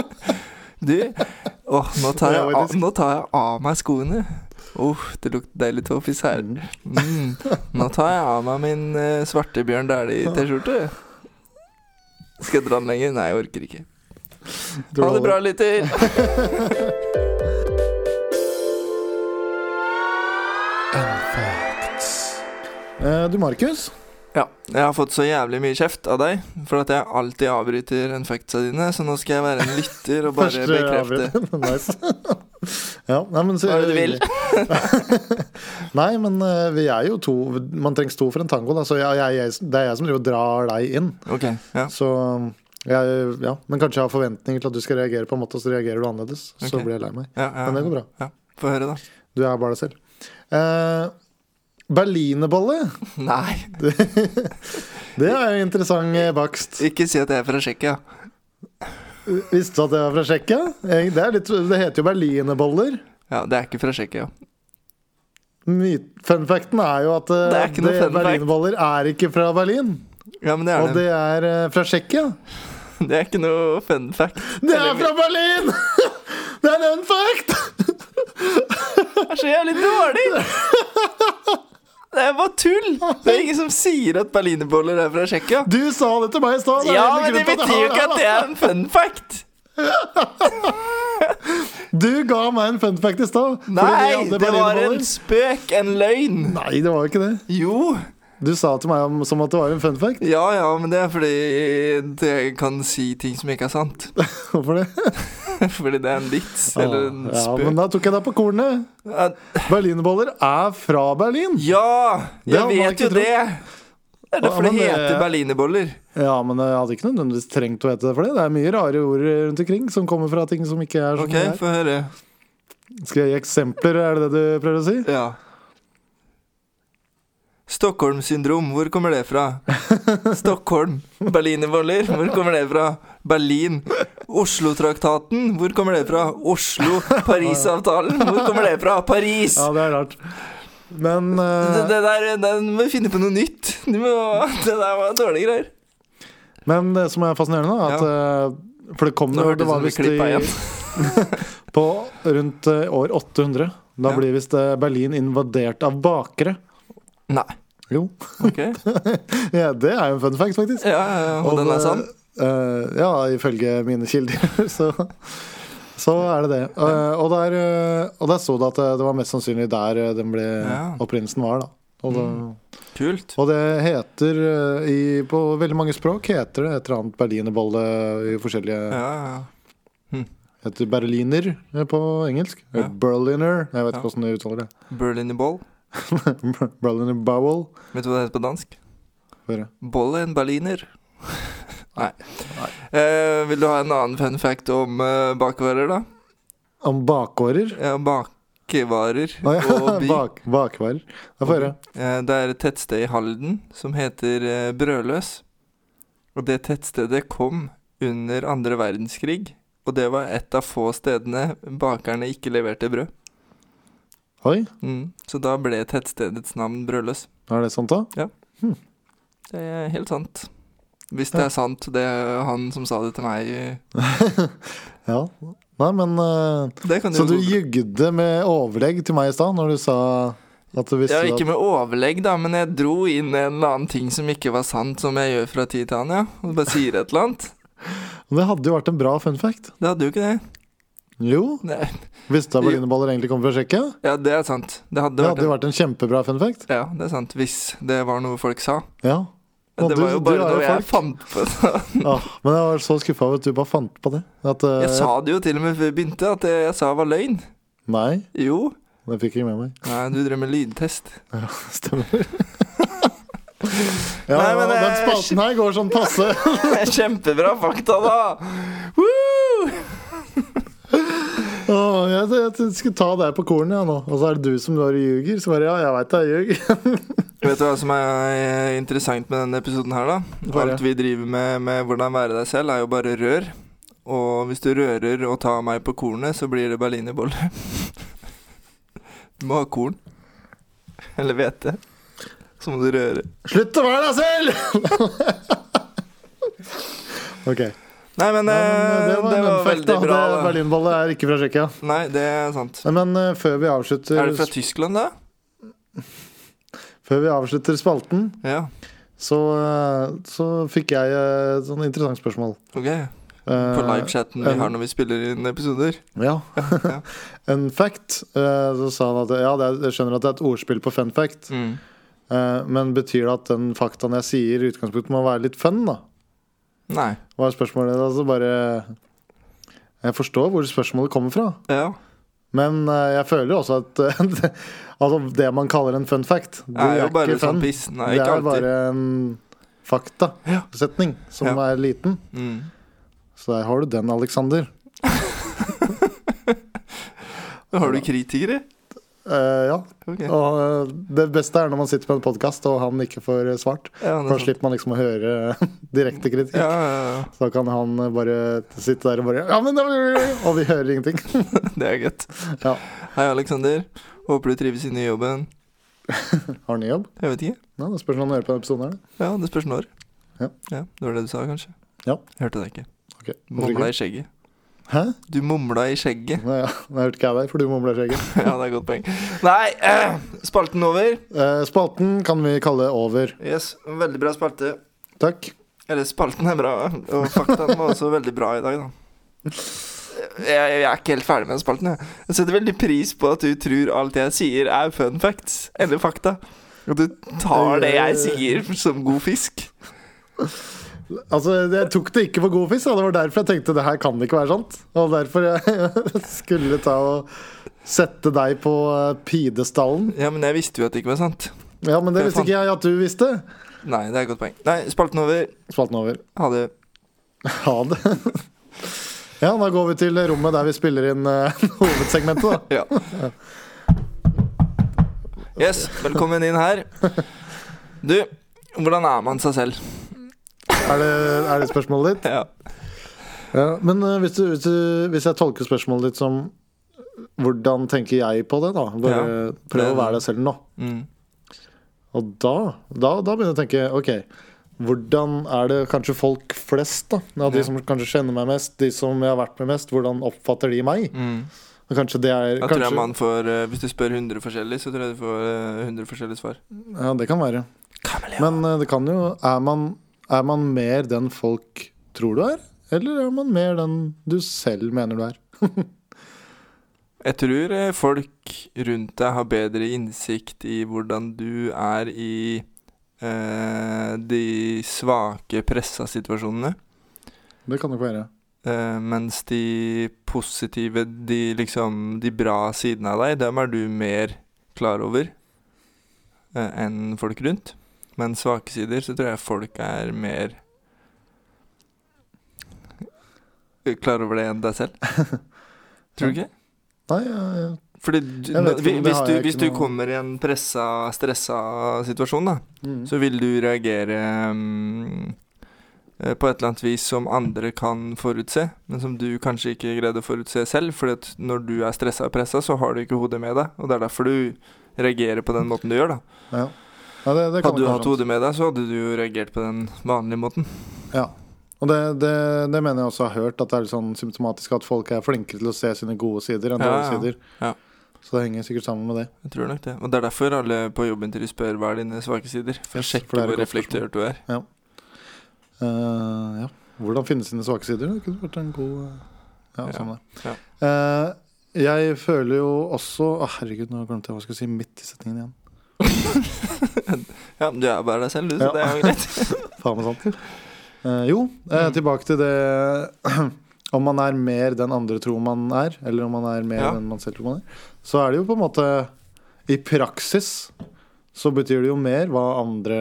du, åh, nå, tar jeg av, nå tar jeg av meg skoene. Åh, det lukter deilig tåfis her.
Mm.
Mm. Nå tar jeg av meg min eh, svarte Bjørn Dæhlie-T-skjorte. Skal jeg dra den lenger? Nei, jeg orker ikke. Ha det bra, lytter.
Eh, Du, Markus.
Ja, jeg har fått så jævlig mye kjeft av deg for at jeg alltid avbryter en factsa dine, så nå skal jeg være en lytter og
eh,
bare bekrefte.
nice. ja, nei, men, så,
Hva er det du vil?
nei, men eh, vi er jo to. Man trengs to for en tango, da. Så jeg, jeg, jeg, det er jeg som driver og drar deg inn.
Ok, ja.
Så jeg, ja, Men kanskje jeg har forventninger til at du skal reagere på en måte, og så reagerer du annerledes. Så
Ok.
blir jeg lei meg.
ja,
Men det
ja.
går bra.
Få høre, da.
Du er bare deg selv. Eh, Berlinerbolle,
Nei,
det er jo interessant eh, bakst.
ikke si at jeg er fra Tsjekkia.
Visste du at jeg var fra Tsjekkia? Eh, Det, er litt- det heter jo berlinerboller.
Ja, det er ikke fra Tsjekkia.
My- Fun facten er jo at eh,
Det er ikke noe
det-
fun fact.
berlinerboller er ikke fra Berlin.
Ja, men det
Og
er det.
det er eh, fra Tsjekkia.
Det er ikke noe fun fact.
Det er
Eller-
fra Berlin! Det er en fact!
Det er så jævlig dårlig! Det er bare tull! Det er ingen som sier at berlinerboller er fra Tsjekkia.
Du sa det til meg i stad. er
Ja,
hele
men det
grunnen til
betyr jo
jeg
ikke
har
at
det
det
her,
er en fun fact.
da. Du ga meg en fun fact i stad. fordi vi
Nei,
hadde
det var
berlinerboller.
en spøk, en løgn.
Nei, det var jo ikke det.
Jo.
Du sa til meg om, som at det var en fun fact.
Ja, ja, men det er fordi jeg kan si ting som ikke er sant.
Hvorfor det?
Fordi det er en vits eller en
ja, men
spøk.
da tok jeg deg på kornet.
At-
Berlinerboller er fra Berlin.
Ja,
Det hadde
jeg
man
vet
ikke
jo
trodd.
det. Det er
Ja,
derfor det
men det-
heter berlinerboller.
Ja, men jeg hadde ikke nødvendigvis trengt å hete det for det. Det er mye rare ord rundt omkring som kommer fra ting som ikke er som
OK,
det er.
få høre.
Skal jeg gi eksempler, er det det du prøver å si?
Ja. Stockholm-syndrom, hvor kommer det fra? Stockholm. Berlinerboller, hvor kommer det fra? Berlin. Oslo-traktaten, hvor kommer det fra? Oslo. Parisavtalen, hvor kommer det fra? Paris.
Ja, det er rart. Men
Det,
eh,
det der, den må finne på noe nytt. Du må, det der var dårlige greier.
Men det som er fascinerende, er at eh, For det kom
Nå
jo
hørtes
Det
det
var
som vi
visst i
klippa igjen.
På rundt eh, år 800. Da
Ja.
blir visst eh, Berlin invadert av bakere.
Nei.
Jo.
Ok.
Ja, det er jo en fun fact, faktisk.
Ja, ja, ja. og den
det-
er sann?
eh, ja, ifølge mine kilder, så så er det det. Eh, og, der, eh, og der sto det at eh, det var mest sannsynlig der eh, den ble
Ja. Mm.
opprinnelsen var. da Og, da,
Kult.
og det heter eh, i, På veldig mange språk heter det et eller annet berlinerbolle i forskjellige
Ja, ja.
heter berliner eh, på engelsk.
Ja.
Berliner Jeg vet
Ja.
ikke hvordan du uttaler det.
Berliner Ball.
Berliner Bowel.
Vet du hva det heter på dansk?
Hva er det?
Bolle en berliner. Nei. Eh, vil du ha en annen fun fact om eh, bakvarer, da?
Om bakårer.
Ja, bakevarer
Å ja,
og by.
bak, bakvarer. Da får jeg høre.
Eh, det er et tettsted i Halden som heter eh, Brødløs. Og det tettstedet kom under andre verdenskrig. Og det var et av få stedene bakerne ikke leverte brød.
Oi,
Mm. Så da ble tettstedets navn Brødløs.
er det sånn sant, da?
Det er helt sant. Hvis det er sant, det er han som sa det til meg. eh,
Ja. Nei, men eh,
Det kan
Så
jo
du jugde med overlegg til meg i stad når du sa at du visste
Ja, ikke
at
med overlegg, da, men jeg dro inn en eller annen ting som ikke var sant, som jeg gjør fra tid til annen, ja. Og bare sier et eller annet.
Men Det hadde jo vært en bra fun fact.
Det hadde jo ikke det.
Jo.
Nei.
Visste du at berlinerboller egentlig kom fra Tsjekkia?
Ja, det er sant. Det hadde
Det
vært
hadde jo vært en kjempebra fun fact.
Ja, det er sant. Hvis det var noe folk sa.
Ja.
Men
Og
det
du-
var jo
du
bare
er jo
noe jeg
folk.
fant på.
Ah, men jeg var så skuffa over at du bare fant på det. At, eh,
Jeg sa det jo til og med før vi begynte, at det jeg sa var løgn.
Nei,
Jo.
det fikk jeg ikke med meg.
Nei, du drev med lydtest.
Stemmer. ja,
Nei, men,
den
eh,
spalten her går sånn passe.
Kjempebra fakta, da! Woo!
Åh, jeg, jeg, skulle ta deg på kornet ja, nå, og så er det du som bare ljuger. Så bare, ja, jeg veit jeg ljuger.
Vet du hva som er eh, interessant med denne episoden her, da?
Hva er det?
Alt vi driver med med hvordan være deg selv, er jo bare rør. Og hvis du rører og tar meg på kornet, så blir det berlinerbolle. Du må ha korn. Eller hvete. Så må du røre.
Slutt å være deg selv! ok.
Nei, men,
Nei, men,
eh,
det var en fun fact,
veldig
da.
bra. eh.
Det-
da.
Berlinballet er ikke fra Tsjekkia.
Nei, det er sant.
Nei, Men eh, før, vi avslutter,
Er det fra Tyskland, da?
før vi avslutter spalten,
Ja.
så, eh, så fikk jeg eh, et sånn interessant spørsmål.
Ok.
Eh,
På livechatten vi
en-
har når vi spiller inn episoder.
Ja.
ja.
en fact. eh, så sa han at ja, det er, jeg skjønner at det er et ordspill på fun fact,
Mm.
eh, men betyr det at den faktaen jeg sier, i utgangspunktet må være litt fun, da?
Nei.
Var spørsmålet da, så bare Jeg forstår hvor spørsmålet kommer fra.
Ja.
Men eh, jeg føler jo også at eh, det, altså det man kaller en fun fact, det
Det er
er,
jo bare
ikke fun.
sånn piss. Nei,
det
ikke
er
alltid.
bare en
Ja.
faktasetning som
Ja.
er liten.
Mm.
Så der har du den, Aleksander.
Har du kritikere?
Eh, ja.
Ok.
Og eh, det beste er når man sitter på en podkast og han ikke får eh, svart.
Ja, det
Da
er sant.
slipper man liksom å høre eh, direkte kritikk.
Ja, ja,
Så da kan han eh, bare sitte der og bare ja, men, da- Og vi hører ingenting.
ja. det er godt.
Ja.
Hei, Aleksander. Håper du trives i nye jobben.
Har han ny jobb?
Jeg vet ikke.
Ja, det spørs om han hører på denne episoden her. da.
Ja, det spørs når.
Ja.
Det var det du sa, kanskje?
Ja.
Hørte deg ikke.
Ok, hvorfor ikke?
Mumla i skjegget.
Hæ?
Du mumla i skjegget.
Nei, ja, Nå hørte ikke jeg deg, for du mumler skjegget.
ja, det er et godt poeng. Nei, eh, spalten over.
Eh, Spalten kan vi kalle over.
Yes, veldig bra spalte.
Takk.
Eller, spalten er bra, og faktaen var også veldig bra i dag, da. Jeg, jeg er ikke helt ferdig med den spalten. Jeg. jeg setter veldig pris på at du tror alt jeg sier, er fun facts eller fakta. Og du tar det jeg sier, som god fisk.
Altså, Jeg tok det ikke for god fisk, og det var derfor jeg tenkte det her kan ikke være sant. Og derfor jeg skulle ta og sette deg på eh, pidestallen.
Ja, men jeg visste jo at det ikke var sant.
Ja, men det
Det er
visste ikke jeg at du visste.
Nei, det er et godt poeng. Nei, spalten over.
Spalten over.
Ha det.
Ha det. Ja, da går vi til rommet der vi spiller inn eh, hovedsegmentet, da.
Ja. Yes, velkommen inn her. Du, hvordan er man seg selv?
Er det, er det spørsmålet ditt?
Ja.
Ja, men eh, hvis, du, hvis, du, hvis jeg tolker spørsmålet ditt som hvordan tenker jeg på det, da? Bare
Ja,
prøv
det-
å være deg selv nå.
Mm.
Og da, da, da begynner jeg å tenke Ok, hvordan er det kanskje folk flest da ja, De
Ja.
som kanskje kjenner meg mest De som jeg har vært med mest Hvordan oppfatter de meg?
Mm.
Og kanskje det er
Da tror
kanskje,
jeg man får eh, Hvis du spør 100 forskjellig, så tror jeg du får eh, 100 forskjellige svar.
Ja, det kan være
Kameleon.
Men eh, det kan jo er man, er man mer den folk tror du er? Eller er man mer den du selv mener du er?
Jeg tror eh, folk rundt deg har bedre innsikt i hvordan du er i eh, de svake pressa situasjonene.
Det kan nok være.
Eh, mens de positive, de liksom De bra sidene av deg, dem er du mer klar over eh, enn folk rundt. Men svake sider, så tror jeg folk er mer eh, klar over det enn deg selv. Tror du ikke?
Nei, jeg, jeg
Fordi du,
Jeg vet ikke,
hvi-
men det
hvis,
har
du,
jeg
hvis
ikke
du
noe-
kommer i en pressa, stressa situasjon, da,
mm.
så vil du reagere mm, eh, på et eller annet vis som andre kan forutse, men som du kanskje ikke greide å forutse selv. Fordi at når du er stressa og pressa, så har du ikke hodet med deg. Og det er derfor du reagerer på den måten du gjør, da.
ja. Ja, det, det kan
Hadde du
nok være
hatt
sant.
hodet med deg, så hadde du jo reagert på den vanlige måten.
Ja. Og det, det, det mener jeg også har hørt, at det er litt sånn symptomatisk at folk er flinkere til å se sine gode sider enn
Ja,
dårlige
ja.
sider.
Ja.
Så det henger sikkert sammen med det.
Jeg tror nok det. Og det er derfor alle på jobben til de spør hva er dine svake sider. For å
Yes, for
sjekke
det er et godt
hvor
spørsmål.
reflektert du er.
Eh, ja. Hvordan finne sine svake sider? Det kunne vært en god eh, Ja,
Ja,
sånn det.
ja.
Eh, jeg føler jo også Å, herregud, nå glemte jeg hva jeg skulle si midt i setningen igjen.
Ja, men du er bare deg selv, du,
Ja.
så det er jo greit.
Faen meg sant. Eh, jo, eh,
Mm.
tilbake til det Om man er mer den andre tror man er, eller om man er mer
Ja.
den man selv tror man er, så er det jo på en måte I praksis så betyr det jo mer hva andre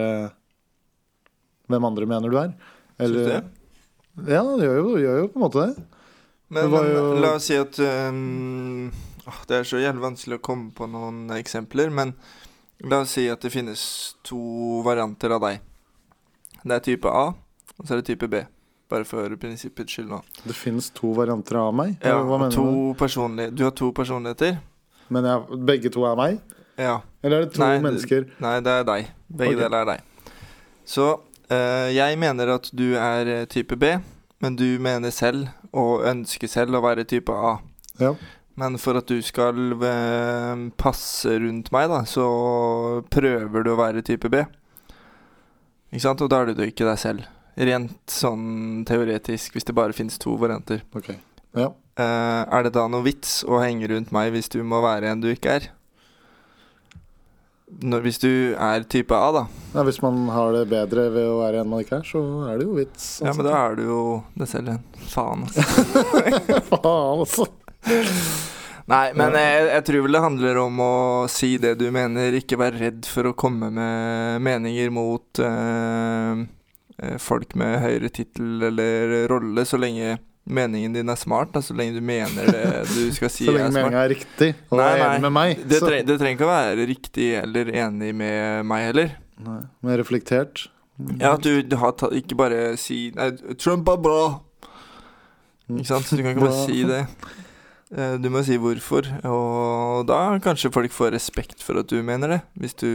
Hvem andre mener du er.
Synes du
Eller,
det?
ja, det gjør jo, gjør jo på en måte det.
Men,
Det var
men
jo-
la oss si at øhm, åh, Det er så jævlig vanskelig å komme på noen eksempler, men la oss si at det finnes to varianter av deg. Det er type A, og så er det type B. Bare for prinsippets skyld nå.
Det finnes to varianter av meg.
Ja,
Hva
og
mener
to personlig- du har to personligheter.
du? Men jeg, begge to er meg?
Ja.
Eller er det to
Nei, det-
mennesker?
Nei, det er deg. Begge
Ok.
deler er deg. Så eh, jeg mener at du er eh, type B, men du mener selv og ønsker selv å være type A.
Ja.
Men for at du skal eh, passe rundt meg, da, så prøver du å være type B. Ikke sant? Og da er du ikke deg selv. Rent sånn teoretisk, hvis det bare finnes to varianter.
Ok. Ja.
Eh, er det da noe vits å henge rundt meg hvis du må være en du ikke er? Når, hvis du er type A, da,
Nei, hvis man har det bedre ved å være en man ikke er, så er det jo vits. altså.
Ja, men da er du jo deg selv igjen. Faen, altså.
Faen, altså.
Nei, men jeg, jeg tror vel det handler om å si det du mener, ikke være redd for å komme med meninger mot eh, eh, folk med høyere tittel eller rolle, så lenge meningen din er smart, da, så lenge du mener det du skal si
Så
er
lenge
smart.
meninga er riktig og
Nei,
er
nei,
enig med meg.
Det,
så-
treng, det trenger ikke å være riktig eller enig med meg heller.
Nei, men reflektert.
Ja, at du, du har tatt Ikke bare si nei, 'Trump er bra'. Ikke sant? Så Du kan ikke bare
Bra.
si det. Eh, Du må si hvorfor, og da kanskje folk får respekt for at du mener det, hvis du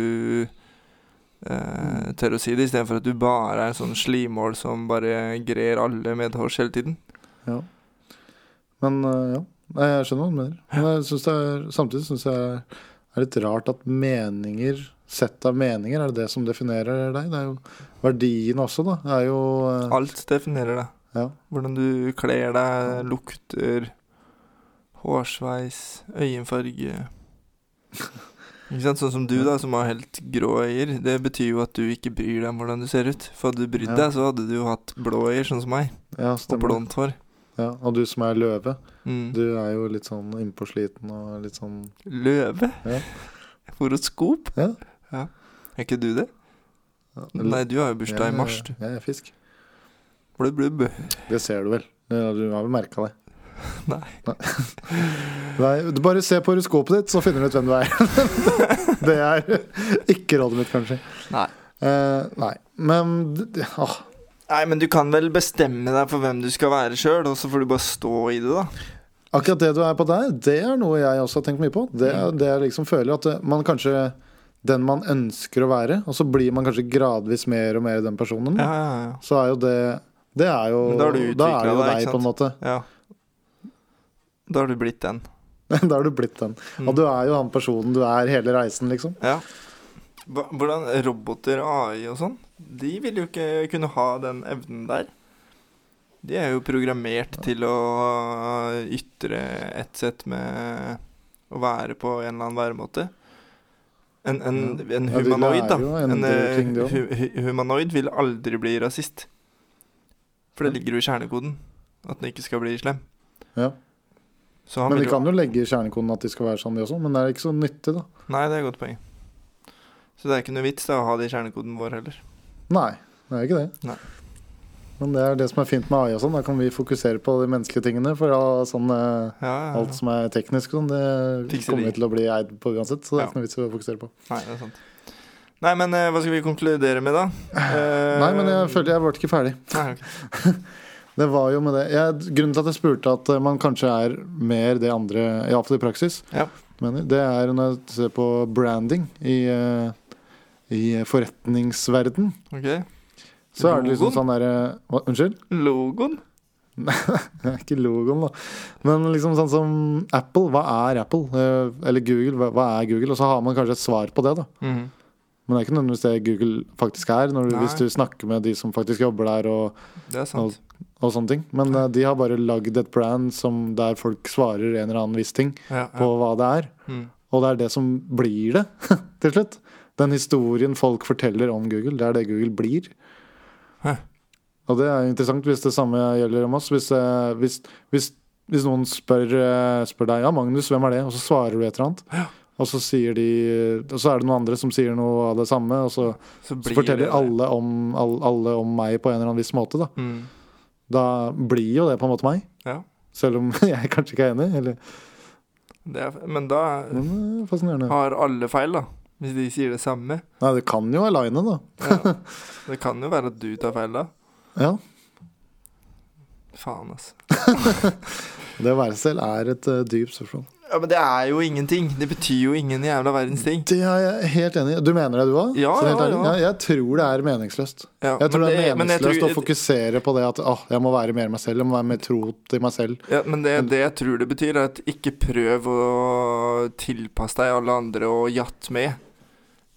eh, tør å si det, istedenfor at du bare er en sånn slimål som bare grer alle medhårs hele tiden.
Ja. Men øh, ja, Nei, jeg skjønner hva du mener. Men jeg synes det er, samtidig syns jeg det er litt rart at meninger, sett av meninger, er det det som definerer deg? Det er jo verdiene også, da. Det er jo øh,
Alt definerer deg.
Ja.
Hvordan du kler deg, lukter, hårsveis, øyenfarge Ikke sant? Sånn som du, da, som har helt grå øyer. Det betyr jo at du ikke bryr deg om hvordan du ser ut. For hadde du brydd
Ja.
deg, så hadde du jo hatt blå øyer, sånn som meg.
ja,
Og
stemmer.
blondt hår.
Ja, og du som er løve,
Mm.
du er jo litt sånn innpåsliten og litt sånn
Løve?
Ja.
Horoskop?
Ja.
Er ikke du det?
ja,
Nei, du har jo bursdag
jeg-
i mars, du.
Jeg er fisk.
Blubb, blubb.
Det ser du vel. Ja, Du har vel merka det.
Nei.
Nei, du bare se på horoskopet ditt, så finner du ut hvem du er. det er ikke rådet mitt, kanskje.
Nei.
Eh, nei. Men d- ah, d- åh,
Nei, men du kan vel bestemme deg for hvem du skal være sjøl, og så får du bare stå i det, da.
akkurat det du er på der, det er noe jeg også har tenkt mye på. Det
Mm.
er det jeg liksom føler at eh, man kanskje den man ønsker å være, og så blir man kanskje gradvis mer og mer den personen.
Ja, ja, ja.
Så er jo det Det er jo
Men da har
da er
du
det jo
utviklet deg,
deg,
ikke
på en måte.
Ja. Da har du blitt den.
da har du blitt den.
Mm.
Og du er jo han personen du er hele reisen, liksom.
Ja. Hva- Hvordan roboter og AI og sånn, de vil jo ikke kunne ha den evnen der. øh, De er jo programmert til å ytre et sett med å være på en eller annen væremåte. En, en, en
Ja, de
humanoid, da.
lærer jo å
En
endre
eh,
ting, de også.
hu, hu- humanoid vil aldri bli rasist. For det ligger jo i kjernekoden at den ikke skal bli slem.
Ja.
Så han
Men
vil
de
jo-
kan jo legge i kjernekoden at de skal være sånn, de også, men det er ikke så nyttig, da.
Nei, det er et godt poeng. Så det er ikke noe vits da, å ha det i kjernekoden vår heller.
Nei, det er ikke det.
Nei.
Men det er det som er fint med AI og sånn, da kan vi fokusere på de menneskelige tingene. For da, sånn, eh,
Ja, ja,
alt
ja.
som er teknisk og sånn, det
Fikser
kommer
de.
vi til å bli eid på uansett. Så det
Ja.
er ikke noe vits å fokusere på.
Nei, det er sant. Nei, men eh, hva skal vi konkludere med, da? Eh,
Nei, men jeg følte jeg ble ikke ferdig.
Nei, ok.
Det var jo med det jeg, Grunnen til at jeg spurte at eh, man kanskje er mer det andre, iallfall i praksis,
Ja.
mener, det er når jeg ser på branding i, eh, i forretningsverden
Ok.
Så er det liksom
Logoen?
sånn derre hva- Unnskyld?
Logoen?
Det er ikke logoen, da. Men liksom sånn som Apple. Hva er Apple? Eh, Eller Google. hva- Hva er Google? Og så har man kanskje et svar på det, da.
Mhm.
Men det er ikke nødvendigvis det Google faktisk er, når du,
Nei.
hvis du snakker med de som faktisk jobber der og,
Det er sant.
og sånne ting. Men eh, de har bare lagd et brand som, der folk svarer en eller annen viss ting
Ja,
på
ja.
hva det er.
Mhm.
Og det er det som blir det, til slutt. Den historien folk forteller om Google, det er det Google blir.
Hæ.
Og det er interessant hvis det samme gjelder om oss. Hvis, eh, hvis, hvis, hvis noen spør, eh, spør deg ja, Magnus, hvem er det? Og så svarer du et eller annet. Og så, sier de, og så er det noen andre som sier noe av det samme, og så,
Så
så
blir
forteller
det det.
alle om, all- alle om meg på en eller annen viss måte. Da.
Mhm.
da blir jo det på en måte meg,
Ja.
selv om jeg kanskje ikke er enig. Eller,
Det er, men da eh,
men det er fascinerende.
har alle feil, da. Hvis de sier det samme.
Nei, det kan jo align, da.
Ja. Det kan jo være at du tar feil, da.
Ja.
Faen, altså.
Det å være selv er et eh, dypt spørsmål.
Ja, Men det er jo ingenting. Det betyr jo ingen jævla verdens ting.
Det er jeg helt enig i. Du mener det, du òg?
Ja,
Sånn helt
ja,
ærlig?
ja.
Jeg tror det er meningsløst.
Ja,
Jeg tror
men
det, er
men jeg
meningsløst
tror-
å fokusere på det at åh, jeg må være mer meg selv, jeg må være mer tro til meg selv.
Ja, men det, det jeg tror det betyr, er at ikke prøv å tilpasse deg alle andre og jatt med.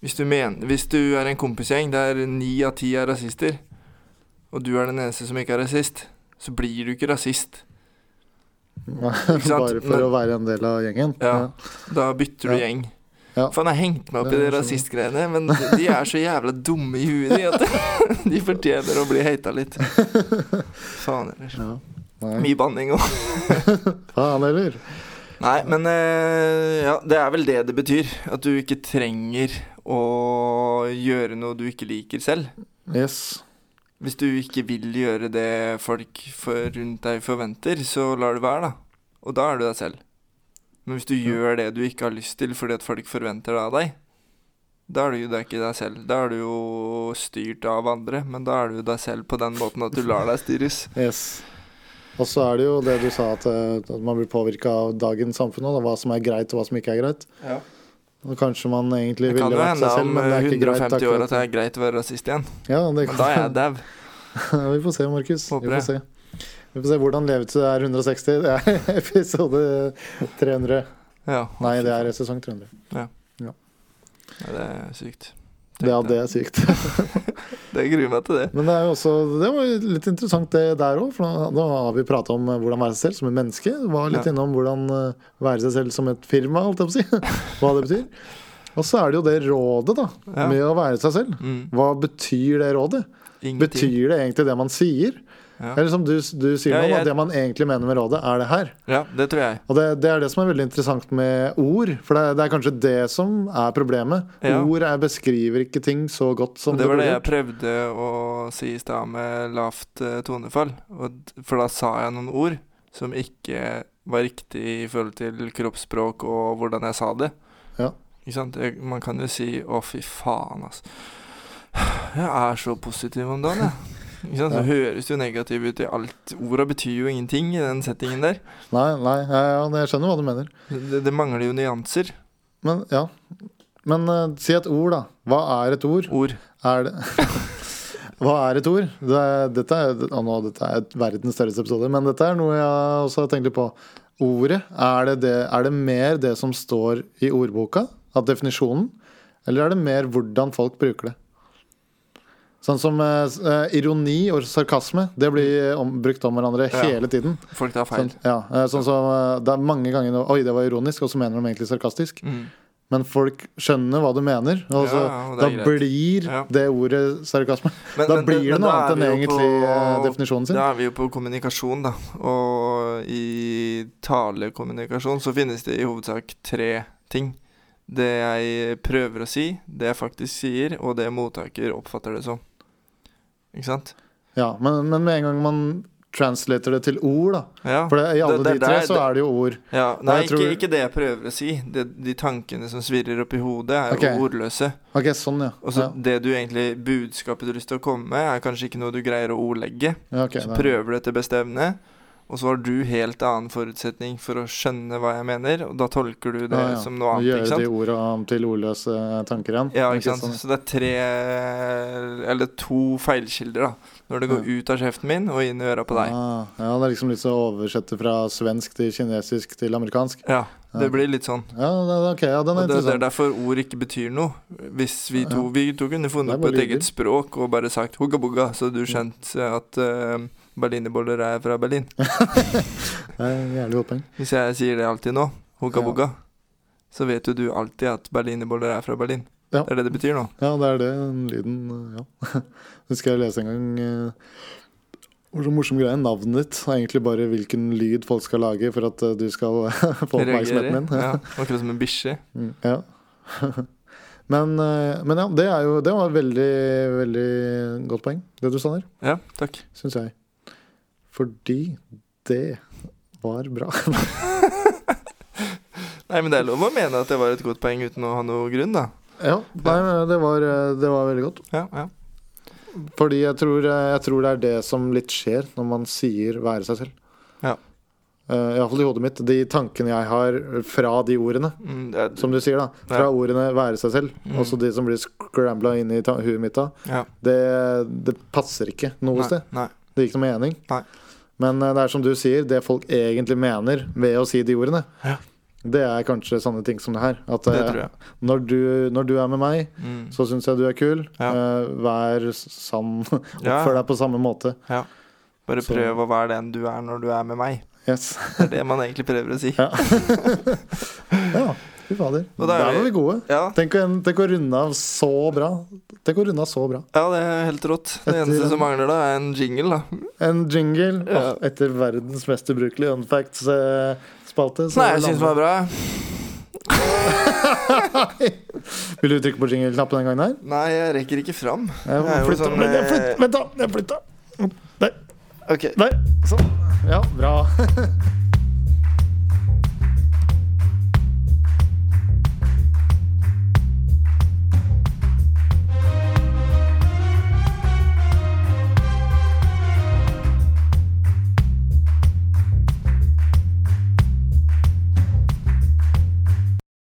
Hvis du, mener, hvis du er en kompisgjeng der ni av ti er rasister, og du er den eneste som ikke er rasist, så blir du ikke rasist.
Bare
sant?
for
Men-
å være en del av gjengen.
Ja, Da bytter du
Ja.
gjeng.
Ja.
Faen, jeg har hengt meg opp
Det
i de
er sånn.
rasistgreiene, men de- de er så jævla dumme i huet, de, at de fortjener å bli hata litt. Faen ellers.
Ja. Nei.
Mye banning òg.
Faen heller.
Nei, men eh, ja, det er vel det det betyr. At du ikke trenger å gjøre noe du ikke liker selv.
Yes.
Hvis du ikke vil gjøre det folk for rundt deg forventer, så lar det være, da. Og da er du deg selv. Men hvis du gjør det du ikke har lyst til fordi at folk forventer det av deg, da er du jo da ikke deg selv. Da er du jo styrt av andre, men da er du jo deg selv på den måten at du lar deg styres.
yes. Og så er det jo det du sa, at, eh, at man blir påvirka av dagens samfunn og hva som er greit og hva som ikke er greit.
Ja.
Og kanskje man egentlig
Det kan
ville
jo
vært
hende
seg selv,
om eh,
men det er ikke greit.
150 år
akkurat.
at det er greit å være rasist igjen.
Ja, det
Men
kan...
da er jeg dau.
Vi får se, Markus. Vi
Håper
får
det.
se. Vi får se hvordan leve til det er 160. Det er episode 300.
Ja.
Nei, det er sesong 300.
Nei, det er sykt.
Det, ja,
Tenk
det er sykt.
Det jeg gruer meg til det.
Men det er jo også Det var jo litt interessant, det der òg. For nå- nå har vi prata om eh, hvordan være seg selv som et menneske. Vi Var litt
Ja.
innom hvordan eh, være seg selv som et firma, holdt jeg på å si. Hva det betyr. Og så er det jo det rådet, da.
Ja.
Med å være seg selv.
Mm.
Hva betyr det rådet?
Ingenting.
Betyr det egentlig det man sier?
Ja.
Eller som du, du sier
Ja,
nå, da,
jeg-
det man egentlig mener med rådet, er det her.
Ja, det tror jeg.
Og det, det er det som er veldig interessant med ord, for det, er- det er kanskje det som er problemet.
Ja.
Ord er, beskriver ikke ting så godt som
Og det var
burde
det jeg
gjort.
prøvde å si i stad med lavt eh, tonefall. Og, d- for da sa jeg noen ord som ikke var riktig i forhold til kroppsspråk og hvordan jeg sa det.
Ja.
Ikke sant? Jeg, man kan jo si 'å, fy faen, altså'. Jeg er så positiv om dagen, jeg. Ikke sant? Så
Ja.
høres det jo negativ ut i alt. Orda betyr jo ingenting i den settingen der.
Nei, nei, ja, ja, jeg skjønner hva du mener.
Det, det mangler jo nyanser.
Men ja. Men eh, si et ord, da. Hva er et ord?
Ord.
Er det Hva er et ord? Det, er- dette, er, å, nå, dette er et verdens størrelse episode, men dette er noe jeg også har tenkt litt på. Ordet, er det, det, er det mer det som står i ordboka, av definisjonen? Eller er det mer hvordan folk bruker det? Sånn som eh, s- eh, ironi og sarkasme. Det blir eh, om, brukt om hverandre
Ja.
hele tiden.
Folk tar feil.
Sånn, ja, eh, sånn som eh, Det er mange ganger nå, Oi, det var ironisk, og så mener de egentlig sarkastisk.
Mm.
Men folk skjønner hva du mener, og så,
Ja, og det
da
er greit.
blir
Ja.
det ordet sarkasme.
Men-
da
men-
blir det
men
noe
da er
annet enn
vi jo
egentlig
på-
eh, definisjonen sin.
Da er vi jo på kommunikasjon, da. Og i talekommunikasjon så finnes det i hovedsak tre ting. Det jeg prøver å si, det jeg faktisk sier, og det mottaker oppfatter det som. Ikke sant?
Ja, men, men med en gang man translater det til ord, da
Ja.
For det, i alle
Det- det-
de tre
det er-
så er det jo ord.
ja.
Nei,
Nei,
jeg tror-
ikke, ikke det jeg prøver å si. Det, de tankene som svirrer opp i hodet, er
Ok.
jo ordløse.
Ok, sånn, ja.
Og så
ja.
det du egentlig Budskapet du har lyst til å komme med, er kanskje ikke noe du greier å ordlegge.
ja ok,
Så
da.
prøver du etter beste evne, og så har du helt annen forutsetning for å skjønne hå jeg mener, og da tolker du det
Ja, ja.
som noe
Og
annet, ikke
Gjøre de
sant?
orda om til ordløse tanker igjen.
Ja, ikke sant?
sånn,
Så det er tre Eller to feilkilder, da. Når det går ut av kjeften min og inn i øra på deg.
Ah, ja, det er liksom litt så å oversette fra svensk til kinesisk til amerikansk.
Ja, det blir litt sånn.
Ja, det, det- ok, ja, den
Og
er
det, det er
interessant.
derfor ord ikke betyr noe. Hvis vi to, vi to kunne
Det
funnet
er
på
bare
et
lyder.
eget språk og bare sagt 'hugga bugga', så hadde du skjønt eh, at uh, berlinerboller er fra Berlin.
Det er et Jævlig godt poeng.
Hvis jeg sier det alltid nå, hugga
Ja.
bugga, så vet jo du alltid at berlinerboller er fra Berlin.
Ja.
Det er det det betyr nå.
Ja, det er det. Den lyden Ja. Husker jeg lese en gang eh, hvor så morsom greie. Navnet ditt er egentlig bare hvilken lyd folk skal lage for at eh, du skal få oppmerksomheten din.
ja. Akkurat som en bikkje.
Mm, Ja. men, eh, men ja, det, er jo, det var et veldig, veldig godt poeng, det du sa der,
Ja, takk.
syns jeg. Fordi det var bra.
Nei, men det er lov å mene at det var et godt poeng uten å ha noe grunn, da.
ja, nei, men det var, eh, det var veldig godt.
Ja, ja.
Fordi jeg tror, eh, jeg tror det er det som litt skjer når man sier 'være seg selv'.
Ja.
Eh, i hvert fall i hodet mitt. De tankene jeg har fra de ordene.
Mm, det er,
Som du sier, da. Fra
Ja. Mm.
ordene 'være seg selv', også de som blir scrambla inn i ta- huet mitt da.
ja.
Det, det passer ikke noe sted.
Nei, nei.
Det gir ikke noe mening.
Nei.
Men eh, det er som du sier, det folk egentlig mener ved å si de ordene,
Ja.
det er kanskje sånne ting som det her. At
Det
eh,
tror jeg.
når, du, når du er med meg,
Mm.
så syns jeg du er kul.
Ja.
Eh, vær s- sann. Oppfør
Ja.
deg på samme måte.
Bare
så-
prøv å være den du er når du er med meg.
Yes.
Det er det man egentlig prøver å si.
Ja. ja, fy fader.
Og da
Der var
er
vi
vi-
gode.
Ja,
Tenk å, tenk å runde av så bra. Tenk å runde av så bra.
ja det er helt rått. Det
Etter
eneste
den-
som mangler, da, er en jingle, da.
En jingle
Ja.
Åh, etter verdens mest ubrukelige unfacts-spalte.
Nei, jeg syns den var bra.
Vil du trykke på jingle-knappen den gangen her?
Nei, jeg rekker ikke fram.
Jeg
Det er jo
flytter,
sånn,
men jeg
eh,
flytter, vent da, jeg flytta. Der,
Ok.
der, sånn. Ja, bra.